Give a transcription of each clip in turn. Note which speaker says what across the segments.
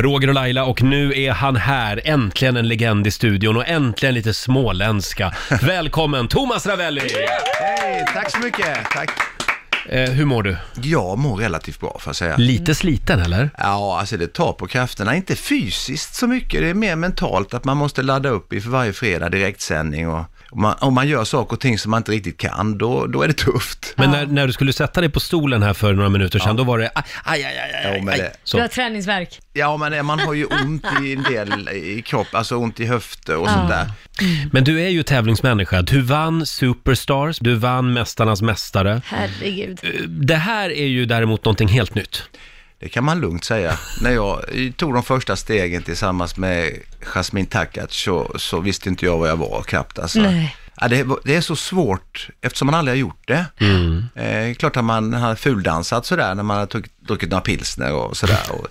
Speaker 1: Roger och Laila och nu är han här, äntligen en legend i studion och äntligen lite småländska. Välkommen Thomas Ravelli!
Speaker 2: Hej, tack så mycket. Tack.
Speaker 1: Eh, hur mår du?
Speaker 2: Jag mår relativt bra får jag säga.
Speaker 1: Lite sliten eller?
Speaker 2: Ja, alltså det tar på krafterna. Inte fysiskt så mycket, det är mer mentalt att man måste ladda upp inför varje fredag direktsändning och om man, om man gör saker och ting som man inte riktigt kan, då, då är det tufft.
Speaker 1: Men när, när du skulle sätta dig på stolen här för några minuter sedan, då var det aj, aj, aj, aj, aj,
Speaker 2: Jo, men
Speaker 1: aj.
Speaker 2: det-
Speaker 1: Så.
Speaker 3: Du har träningsverk.
Speaker 2: Ja, men man har ju ont i en del i kropp, alltså ont i höfter och sånt där.
Speaker 1: Men du är ju tävlingsmänniska. Du vann Superstars, du vann Mästarnas Mästare.
Speaker 3: Herregud.
Speaker 1: Eh, Det här är ju däremot någonting helt nytt.
Speaker 2: Det kan man lugnt säga. När jag eh, tog de första stegen tillsammans med Jasmine Takac så, så visste inte jag vad jag var knappt. Alltså.
Speaker 3: Nej.
Speaker 2: Ja, det, var- det är så svårt eftersom man aldrig har gjort det. Eh, klart att man har fuldansat sådär när man har tog, druckit några pilsner och sådär. Och,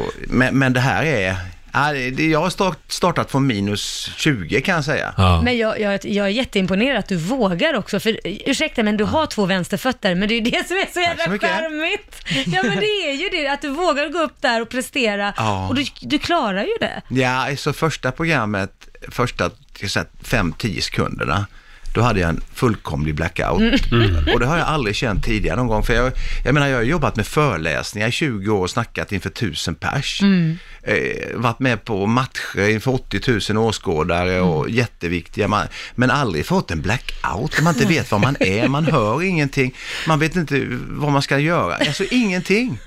Speaker 2: och, men, men det här är... Ja, det, det- jag har start, startat från minus 20 kan jag säga.
Speaker 1: Ja.
Speaker 3: Men jag, jag, jag är jätteimponerad att du vågar också, för ursäkta men du har två vänsterfötter, men det är ju det som är så
Speaker 2: så
Speaker 3: jävla
Speaker 2: mycket.
Speaker 3: charmigt. Ja men det är ju det, att du vågar gå upp där och prestera,
Speaker 2: Ja.
Speaker 3: och du, du klarar ju det.
Speaker 2: Ja, så första programmet, första 5-10 sekunderna, då hade jag en fullkomlig blackout. Mm. Och det har jag aldrig känt tidigare någon gång. För jag, jag menar, jag har jobbat med föreläsningar i 20 år och snackat inför 1000 pers. Eh, varit med på matcher inför 80 000 åskådare och jätteviktiga. Man, men aldrig fått en blackout. Man inte vet var man är, man hör ingenting. Man vet inte vad man ska göra. Alltså ingenting.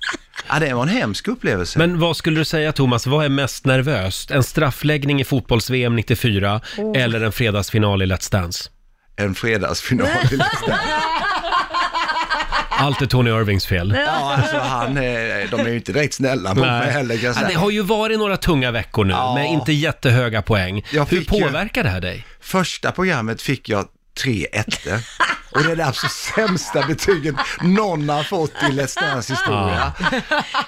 Speaker 2: Ja, det var en hemsk upplevelse.
Speaker 1: Men vad skulle du säga Thomas, vad är mest nervöst? En straffläggning i fotbolls-VM 94 eller en fredagsfinal i Let's Dance?
Speaker 2: En fredagsfinal i
Speaker 1: Allt är Tony Irvings fel.
Speaker 2: Ja, alltså han, eh, de är ju inte direkt snälla mot mig heller kan jag
Speaker 1: Ja,
Speaker 2: säga.
Speaker 1: det har ju varit några tunga veckor nu
Speaker 2: Ja.
Speaker 1: med inte jättehöga poäng.
Speaker 2: Jag
Speaker 1: Hur
Speaker 2: fick ju-
Speaker 1: påverkar det här dig?
Speaker 2: Första programmet fick jag tre ettor. Och det är det absolut sämsta betyget någon har fått i Let's Dance historia.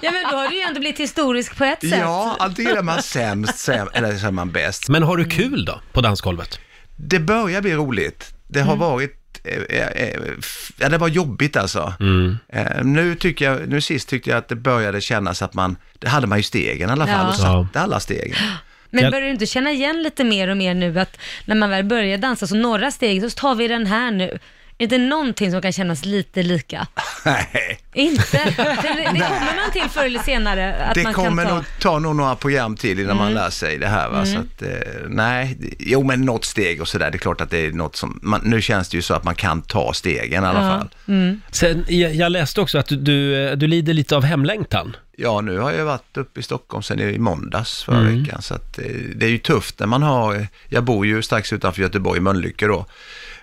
Speaker 3: Ja men då har du ju ändå blivit historisk på ett sätt.
Speaker 2: Ja, antingen är man sämst, säm- eller så är man bäst.
Speaker 1: Men har du kul då på dansgolvet?
Speaker 2: Det börjar bli roligt. Det
Speaker 1: Mm.
Speaker 2: har varit, eh, eh, eh, f- ja det var jobbigt alltså.
Speaker 1: Mm.
Speaker 2: Eh, nu tycker jag, nu sist tyckte jag att det började kännas att man, det hade man ju stegen i alla fall
Speaker 3: Ja.
Speaker 2: och satte alla stegen.
Speaker 3: Men
Speaker 1: Jag-
Speaker 3: börjar du inte känna igen lite mer och mer nu att när man väl börjar dansa, så några steg, så tar vi den här nu. Är det någonting som kan kännas lite lika?
Speaker 2: Nej.
Speaker 3: Inte? För Det, det kommer man till förr eller senare. Att
Speaker 2: det
Speaker 3: man
Speaker 2: kommer
Speaker 3: kan ta. Mm.
Speaker 2: nog ta nog några program till innan man lär sig det här. Va? Så att, eh, nej, det- jo men något steg och sådär, det är klart att det är något som, man, nu känns det ju så att man kan ta stegen i alla fall.
Speaker 3: Mm.
Speaker 1: Sen, jag, jag läste också att du, du, du lider lite av hemlängtan.
Speaker 2: Ja, nu har jag varit uppe i Stockholm sen i måndags förra
Speaker 3: Mm.
Speaker 2: veckan, så att, eh, det är ju tufft när man har, jag bor ju strax utanför Göteborg, Mölnlycke då,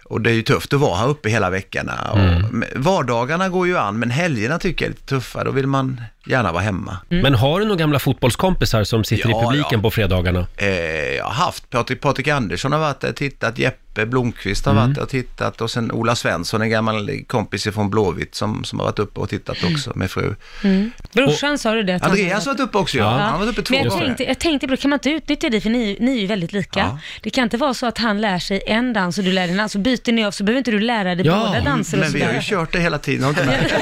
Speaker 2: och det är ju tufft att vara här uppe hela veckorna. Och,
Speaker 3: Mm.
Speaker 2: men Vardagarna går ju an, men helgerna tycker jag är lite tuffa, då vill man gärna vara hemma.
Speaker 1: Men har du några gamla fotbollskompisar som sitter
Speaker 2: Mm. Ja,
Speaker 1: i publiken
Speaker 2: ja.
Speaker 1: på fredagarna?
Speaker 2: Eh, jag har haft Patrik, Patrik Andersson har varit där och tittat, Jeppe Blomqvist
Speaker 3: Mm.
Speaker 2: har varit där och tittat och sen Ola Svensson, en gammal kompis från Blåvitt som, som har varit uppe och tittat
Speaker 3: Mm.
Speaker 2: också med fru.
Speaker 3: Brorsan sa du det? att han hade-
Speaker 2: Andreas har varit uppe också ja,
Speaker 1: Ja.
Speaker 2: han har varit uppe två
Speaker 3: Men jag
Speaker 2: gånger.
Speaker 3: tänkte, jag tänkte på det, kan man inte utnyttja det för ni, ni är ju väldigt lika.
Speaker 2: Ja.
Speaker 3: Det kan inte vara så att han lär sig en dans och du lär dig en annan, så byter ni av så behöver inte du lära dig
Speaker 1: Ja,
Speaker 3: båda danser och
Speaker 2: Mm. Men vi har ju
Speaker 3: sådär.
Speaker 2: kört det hela tiden, har du inte märkt?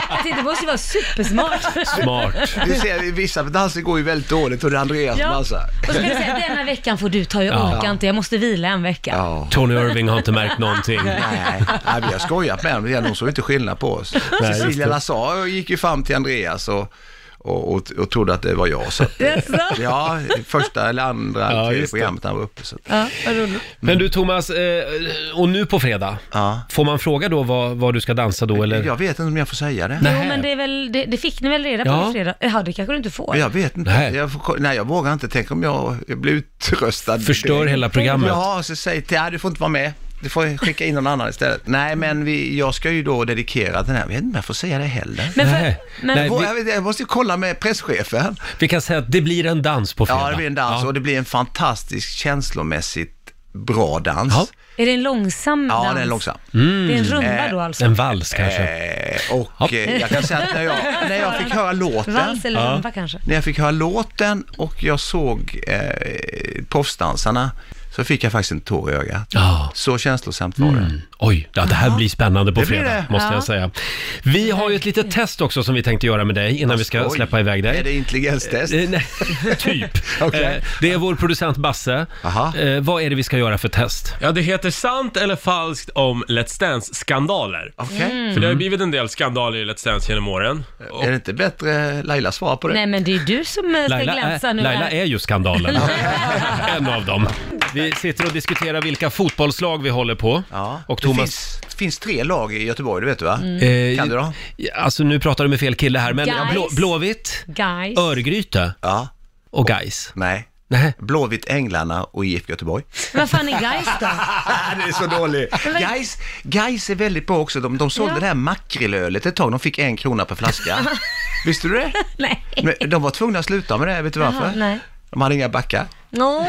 Speaker 3: Jag tänkte, Det måste ju vara supersmart.
Speaker 1: Alltså, Smart.
Speaker 2: Du ser, vissa danser går ju väldigt dåligt och det är Andreas som
Speaker 3: Ja. Och så
Speaker 2: dansar.
Speaker 3: kan du säga, denna veckan får du ta, jag orkar inte, jag måste vila en vecka.
Speaker 2: Ja.
Speaker 1: Tony Irving har inte märkt någonting.
Speaker 2: Nej, nej, vi har skojat med honom, de såg inte skillnad på oss.
Speaker 1: Nej, just
Speaker 2: Cecilia
Speaker 1: det.
Speaker 2: Lazar gick ju fram till Andreas och, och, och, och trodde att det var jag. Så att,
Speaker 3: Jaså?
Speaker 2: ja, första eller andra,
Speaker 1: Ja,
Speaker 2: tredje
Speaker 1: just det.
Speaker 2: programmet när han var uppe. Så att,
Speaker 3: Ja, vad roligt.
Speaker 1: Men du Thomas, eh, och nu på fredag,
Speaker 2: Ja.
Speaker 1: får man fråga då vad, vad du ska dansa då eller?
Speaker 2: Jag vet inte om jag får säga det.
Speaker 1: Nej.
Speaker 2: Nej.
Speaker 3: Jo, men det, är väl, det, det fick ni väl reda på
Speaker 1: Ja.
Speaker 3: i fredag? Ja, det kanske du inte får.
Speaker 2: Jag vet inte.
Speaker 1: Nej.
Speaker 2: Jag, får, nej, jag vågar inte. Tänk om jag, jag blir utröstad.
Speaker 1: Förstör
Speaker 2: Det-
Speaker 1: hela programmet.
Speaker 2: Ja, så säg till, nej, du får inte vara med. Du får skicka in någon annan istället. Nej, men vi, jag ska ju då dedikera den här. Jag vet inte om jag får säga det heller.
Speaker 3: Men, för,
Speaker 1: Nej.
Speaker 3: men
Speaker 1: Nej,
Speaker 2: jag,
Speaker 1: vi-
Speaker 2: vet, jag måste ju kolla med presschefen.
Speaker 1: Vi kan säga att det blir en dans på fredag.
Speaker 2: Ja, det blir en dans och det blir en fantastisk känslomässigt bra dans.
Speaker 1: Ja.
Speaker 2: Ja,
Speaker 3: är det en långsam dans?
Speaker 2: ja den är långsam.
Speaker 3: Det är en rumba då alltså?
Speaker 1: En vals kanske.
Speaker 2: Eh, och
Speaker 1: Hopp.
Speaker 2: eh, jag kan säga att när jag, när jag fick höra låten,
Speaker 3: Vals eller rumba kanske?
Speaker 2: när jag fick höra låten och jag såg eh, proffsdansarna så fick jag faktiskt en tår i ögat.
Speaker 1: Ja. Mm.
Speaker 2: Så känslosamt var det.
Speaker 1: Oj, ja, det här blir spännande på
Speaker 2: Det blir
Speaker 1: fredag,
Speaker 2: det.
Speaker 1: måste
Speaker 3: Ja.
Speaker 1: jag säga. Vi har ju ett litet test också som vi tänkte göra med dig innan vi ska
Speaker 2: Oj,
Speaker 1: släppa iväg dig.
Speaker 2: Är det intelligenstest?
Speaker 1: Eh, nej, typ.
Speaker 2: Okej.
Speaker 1: Eh, Det är vår producent Basse.
Speaker 2: Aha.
Speaker 1: Eh, vad är det vi ska göra för test?
Speaker 4: Ja, det heter sant eller falskt om Let's Dance-skandaler.
Speaker 2: Okej.
Speaker 4: För det
Speaker 1: Mm.
Speaker 4: har ju blivit en del skandaler i Let's Dance genom åren. Och,
Speaker 2: Är det inte bättre Laila svar på det?
Speaker 3: Mm. Nej men det är du som eh, ska
Speaker 1: Laila
Speaker 3: glänsa
Speaker 1: är,
Speaker 3: nu.
Speaker 1: Laila
Speaker 3: här.
Speaker 1: är ju skandalen. en av dem. Vi sitter och diskuterar vilka fotbollslag vi håller på.
Speaker 2: Ja.
Speaker 1: Och Thomas...
Speaker 2: Det finns, finns tre lag i Göteborg, det vet du va?
Speaker 3: Mm.
Speaker 1: Eh,
Speaker 2: Kan du då?
Speaker 1: Alltså nu pratar du med fel kille här, men
Speaker 3: Guys.
Speaker 1: blå, Blåvitt,
Speaker 3: Guys.
Speaker 1: Örgryte
Speaker 2: Ja.
Speaker 1: och Gais.
Speaker 2: Nej.
Speaker 1: Nej.
Speaker 2: Blåvitt Änglarna och IFK Göteborg.
Speaker 3: Vad fan är Guys då?
Speaker 2: det är så dåligt. Guys, guys är väldigt bra också. De, de sålde
Speaker 3: Ja.
Speaker 2: det här makrillölet ett tag. De fick en krona per flaska. Visste du det?
Speaker 3: Nej.
Speaker 2: Men de var tvungna att sluta med det, vet du varför?
Speaker 3: nej.
Speaker 2: De hade inga backar.
Speaker 3: No.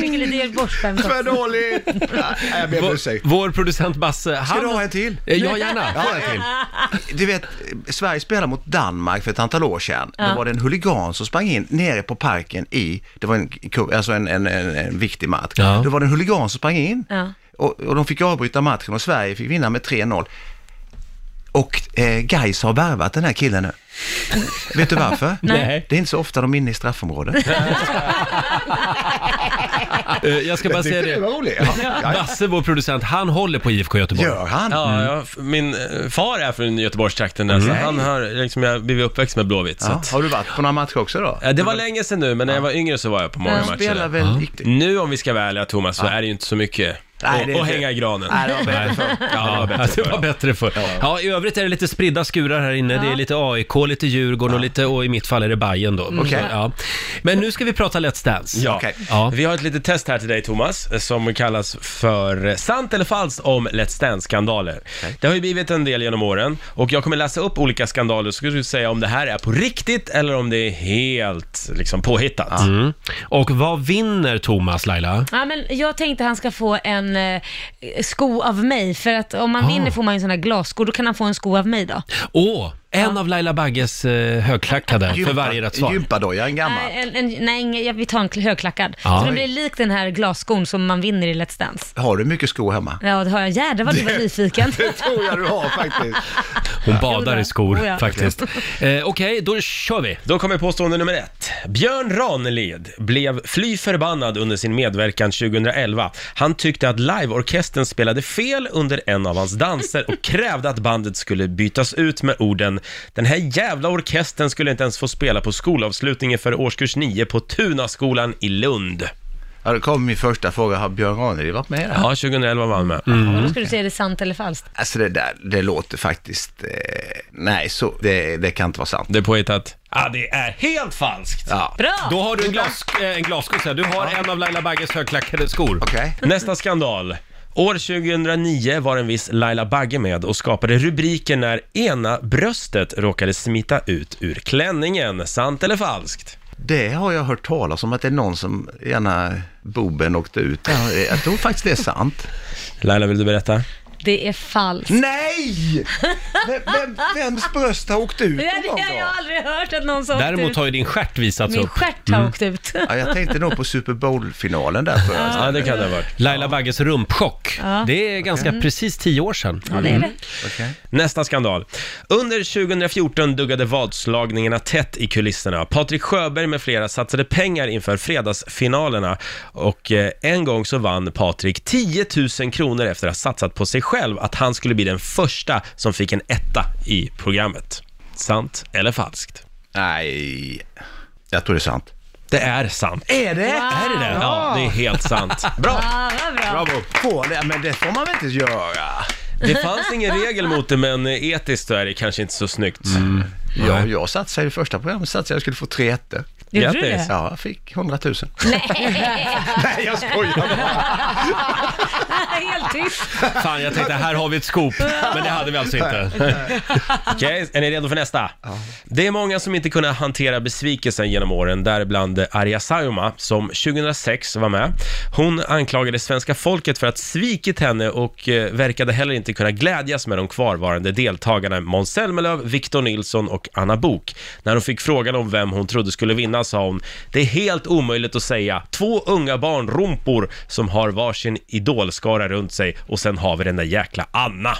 Speaker 3: Fick lite Göteborgsskämt också.
Speaker 2: För dåligt! Ja, jag ber om
Speaker 1: Vår,
Speaker 2: ursäkt.
Speaker 1: vår producent Basse, han...
Speaker 2: du ha en till?
Speaker 1: Eh, Ja, gärna.
Speaker 2: Ja, Du vet, Sverige spelade mot Danmark för ett antal år sedan. Då var det en huligan som sprang in nere på parken i, det var en, ku- alltså en, en, en, en viktig match.
Speaker 1: Ja.
Speaker 2: Då var det en huligan som sprang in
Speaker 3: Ja.
Speaker 2: och, och de fick avbryta matchen och Sverige fick vinna med 3-0. Och eh, Gais har värvat den här killen nu. Vet du varför?
Speaker 1: Nej.
Speaker 2: Det är inte så ofta de är inne i straffområdet.
Speaker 1: Eh, Jag ska bara säga det.
Speaker 2: roligt. Ja.
Speaker 1: Basse, vår producent, han håller på IFK Göteborg.
Speaker 2: Gör han?
Speaker 4: ja, jag, min eh, far är från Göteborgstrakten, där, så han har liksom, jag har blivit uppväxt med Blåvitt. Så
Speaker 2: Mm. Ja.
Speaker 4: att,
Speaker 2: Har du varit på några matcher också då?
Speaker 4: Eh, det var länge sedan nu, men när jag var yngre så var jag på många
Speaker 3: Ja.
Speaker 4: matcher.
Speaker 2: Spelar
Speaker 4: där.
Speaker 2: väl riktigt?
Speaker 4: Nu om vi ska vara ärliga Thomas, så är det ju inte så mycket
Speaker 2: Nej,
Speaker 4: att-
Speaker 2: det är
Speaker 4: att
Speaker 2: inte-
Speaker 4: hänga i granen.
Speaker 2: Nej, det var bättre förr.
Speaker 4: Ja, det var bättre
Speaker 1: det var
Speaker 4: förr.
Speaker 1: bättre förr. Ja, i övrigt är det lite spridda skurar här inne. Det är lite AIK, lite Djurgården och lite, och i mitt fall är det Bayern då.
Speaker 2: Okej.
Speaker 1: Ja. Men nu ska vi prata Let's Dance.
Speaker 4: Ja.
Speaker 2: Okej.
Speaker 1: Ja.
Speaker 4: Vi har ett litet test här till dig Thomas, eh, som kallas för eh, sant eller falskt om Let's Dance-skandaler. Det har ju blivit en del genom åren och jag kommer läsa upp olika skandaler så ska du säga om det här är på riktigt eller om det är helt liksom påhittat.
Speaker 1: Mm. Och vad vinner Thomas, Laila?
Speaker 3: Ja, men jag tänkte han ska få en eh, sko av mig, för att om man
Speaker 1: Ah.
Speaker 3: vinner får man ju en sån här glasskor, då kan han få en sko av mig då.
Speaker 1: Åh, en av Laila Bagges eh, högklackade för
Speaker 2: Gympa-
Speaker 1: varje rätt svar.
Speaker 2: Gympadoja, en gammal.
Speaker 3: Nej, Eh, en, en, nej, ingen- ja, vi tar en kl- högklackad.
Speaker 1: Ja.
Speaker 3: Så den blir lik den här glasskon som man vinner i Let's Dance.
Speaker 2: Har du mycket skor hemma?
Speaker 3: Ja, det har jag. Jädrar vad du var nyfiken.
Speaker 2: tror jag du har faktiskt.
Speaker 1: Hon badar i skor
Speaker 3: Oh, ja.
Speaker 1: faktiskt. Eh, Okej, då kör vi.
Speaker 4: Då kommer påstående nummer ett. Björn Ranelid blev fly förbannad under sin medverkan 2011. Han tyckte att liveorkestern spelade fel under en av hans danser och krävde att bandet skulle bytas ut med orden “Den här jävla orkestern skulle inte ens få spela på skolavslutningen för årskurs 9 på Tunaskolan i Lund”.
Speaker 2: Ja, då kommer min första fråga. Har Björn Ranelid varit med i det här?
Speaker 4: Ja, 2011 var han med.
Speaker 3: Då skulle du säga det är sant eller falskt.
Speaker 2: Alltså det där, det låter faktiskt... Eh, nej, så, det, det kan inte vara sant.
Speaker 4: Det är påhittat. Ja, det är helt falskt!
Speaker 2: Ja.
Speaker 3: Bra!
Speaker 1: Då har du en, glas, eh, en glasskossa. Du har en av Laila Bagges högklackade skor.
Speaker 2: Okej.
Speaker 4: Nästa skandal. År 2009 var en viss Laila Bagge med och skapade rubriker när ena bröstet råkade smita ut ur klänningen. Sant eller falskt?
Speaker 2: Det har jag hört talas om, att det är någon som gärna boben åkte ut. Ja, Jag tror faktiskt det är sant.
Speaker 4: Laila, vill du berätta?
Speaker 3: Det är falskt.
Speaker 2: Nej! Vem, vem, vems bröst har åkt ut
Speaker 3: Det har
Speaker 2: någon
Speaker 3: jag
Speaker 2: gång?
Speaker 3: har aldrig hört att någon sa
Speaker 1: Däremot har Mm. ju din stjärt visats
Speaker 3: Min
Speaker 1: upp.
Speaker 3: stjärt har åkt ut.
Speaker 2: Ja, jag tänkte nog på Super Bowl-finalen där tror jag.
Speaker 4: Ja, Mm. det kan det ha varit.
Speaker 1: Laila Bagges rumpchock.
Speaker 3: Ja.
Speaker 1: Det är ganska precis tio år sedan.
Speaker 3: Ja, det är det.
Speaker 2: Okej.
Speaker 4: Nästa skandal. Under 2014 duggade vadslagningarna tätt i kulisserna. Patrik Sjöberg med flera satsade pengar inför fredagsfinalerna och eh, en gång så vann Patrik 10 000 kronor efter att ha satsat på sig själv att han skulle bli den första som fick en etta i programmet. Sant eller falskt?
Speaker 2: Nej, jag tror det är sant.
Speaker 4: Det är sant.
Speaker 2: Är det?
Speaker 4: Är det det? Ja, det är helt sant. Bra!
Speaker 3: Ja, vad bra.
Speaker 2: Bravo. Får det? Men det får man väl inte göra?
Speaker 4: Det fanns ingen regel mot det, men eh, etiskt så är det kanske inte så snyggt.
Speaker 2: Ja, jag satsade i det första programmet satsade jag skulle få tre ettor.
Speaker 3: Gjorde du
Speaker 4: Grattis.
Speaker 3: det?
Speaker 2: Ja, jag fick 100 000. Nej, Nej jag skojar bara.
Speaker 3: Helt tyst.
Speaker 1: Fan, jag tänkte här har vi ett scoop. Men det hade vi alltså inte.
Speaker 4: Okej, är ni redo för nästa? Det är många som inte kunnat hantera besvikelsen genom åren, däribland Arja Saijonmaa som 2006 var med. Hon anklagade svenska folket för att svikit henne och eh, verkade heller inte kunna glädjas med de kvarvarande deltagarna Måns Zelmerlöw, Victor Nilsson och och Anna Bok. När hon fick frågan om vem hon trodde skulle vinna sa hon “Det är helt omöjligt att säga. Två unga barnrumpor som har varsin idolskara runt sig och sen har vi den där jäkla Anna”.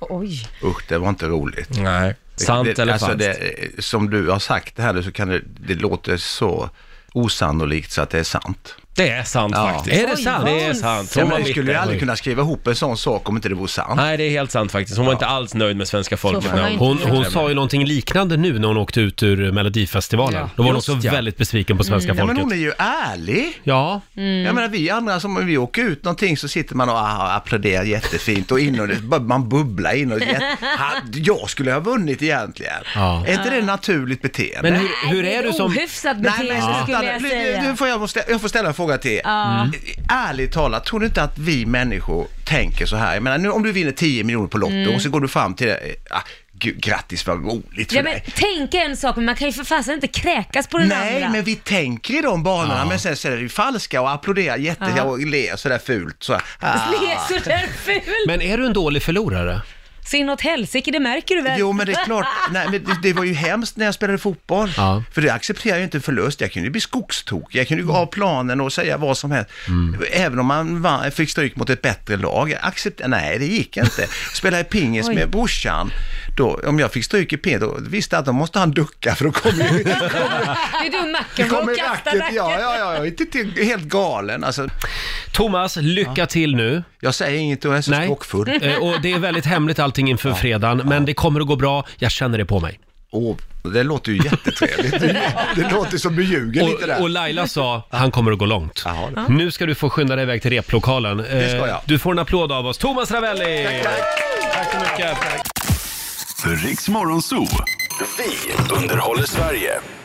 Speaker 3: Oj.
Speaker 2: Usch, det var inte roligt.
Speaker 4: Nej. Sant
Speaker 2: det,
Speaker 4: eller
Speaker 2: alltså
Speaker 4: falskt?
Speaker 2: det- Som du har sagt det här nu så kan det, det låter så osannolikt så att det är sant.
Speaker 4: Det är sant
Speaker 2: Ja.
Speaker 4: faktiskt.
Speaker 1: Är det sant?
Speaker 4: Det är sant.
Speaker 2: Ja,
Speaker 4: Hon var
Speaker 2: men du
Speaker 4: mitt
Speaker 2: skulle ju
Speaker 4: där.
Speaker 2: aldrig kunna skriva ihop en sån sak om inte det vore sant.
Speaker 4: Nej, det är helt sant faktiskt. Hon var inte alls nöjd med svenska folket.
Speaker 3: får man
Speaker 4: när hon-
Speaker 3: inte
Speaker 1: Hon, hon sa ju någonting liknande nu när hon åkte ut ur Melodifestivalen.
Speaker 3: Ja.
Speaker 1: Då var hon
Speaker 4: Just
Speaker 1: också
Speaker 4: ja.
Speaker 1: väldigt besviken på svenska
Speaker 2: Mm. Ja, men Mm.
Speaker 1: folket.
Speaker 2: hon är ju ärlig.
Speaker 1: Ja,
Speaker 3: Mm.
Speaker 2: Jag menar vi andra, som om vi åker ut någonting så sitter man och ah, applåderar jättefint och in och det, man bubblar in och jätt, ha, jag skulle ha vunnit egentligen.
Speaker 1: Ja.
Speaker 2: Är inte det naturligt beteende?
Speaker 1: men hur, hur
Speaker 3: Det
Speaker 1: är
Speaker 3: ett
Speaker 1: du som...
Speaker 3: Ohyfsat
Speaker 2: Nej,
Speaker 3: beteende
Speaker 2: men sluta
Speaker 3: skulle jag
Speaker 2: nu. nu.
Speaker 3: säga.
Speaker 2: Nu får jag, måste, jag får ställa en fråga till er.
Speaker 1: Mm.
Speaker 2: Ärligt talat, tror du inte att vi människor tänker så här? Jag menar, nu, om du vinner 10 miljoner på Lotto
Speaker 3: Mm.
Speaker 2: och så går du fram till det. eh, Ah, gud, grattis, vad roligt för
Speaker 3: Ja, men
Speaker 2: dig.
Speaker 3: tänk en sak, men man kan ju för fasen inte kräkas på den
Speaker 2: Nej,
Speaker 3: andra.
Speaker 2: men vi tänker i de banorna, men sen så är det ju falska och applåderar jätte
Speaker 3: Ja. Alltså,
Speaker 2: och ler sådär fult. Så, här. ah.
Speaker 3: Det är sådär ful.
Speaker 1: Men är du en dålig förlorare?
Speaker 3: Så inåt helsike, det märker du väl?
Speaker 2: Jo, men det är klart. Nej, men det, det var ju hemskt när jag spelade fotboll.
Speaker 1: Ja.
Speaker 2: För det accepterar ju inte en förlust. Jag kunde ju bli skogstokig. Jag kunde ju gå av planen och säga vad som helst.
Speaker 1: Mm.
Speaker 2: Även om man vann, fick stryk mot ett bättre lag. Jag Accept, nej, det gick inte. Spelade pingis
Speaker 3: Oj.
Speaker 2: med brorsan. Då, om jag fick stryk i pingis, då visste jag att då måste han ducka för då kommer ju
Speaker 3: Det är du
Speaker 2: då
Speaker 3: macken
Speaker 2: kommer
Speaker 3: och kastar
Speaker 2: racket.
Speaker 3: racket.
Speaker 2: Ja, ja, ja, ja. Inte till, helt galen. Alltså,
Speaker 1: Thomas, lycka till nu.
Speaker 2: jag säger inget och jag är så
Speaker 1: Nej.
Speaker 2: skrockfull.
Speaker 1: Eh, Och det är väldigt hemligt allting inför fredagen, men det kommer att gå bra. Jag känner det på mig.
Speaker 2: Åh, det låter ju jättetrevligt. Det låter som du ljuger lite där.
Speaker 1: Och, och Laila sa, han kommer att gå långt.
Speaker 2: Jaha, det-
Speaker 1: Nu ska du få skynda dig iväg till replokalen. Det
Speaker 2: ska jag.
Speaker 1: Du får en applåd av oss. Thomas Ravelli! Tack så mycket.
Speaker 5: Riks Morgonzoo. Vi underhåller Sverige.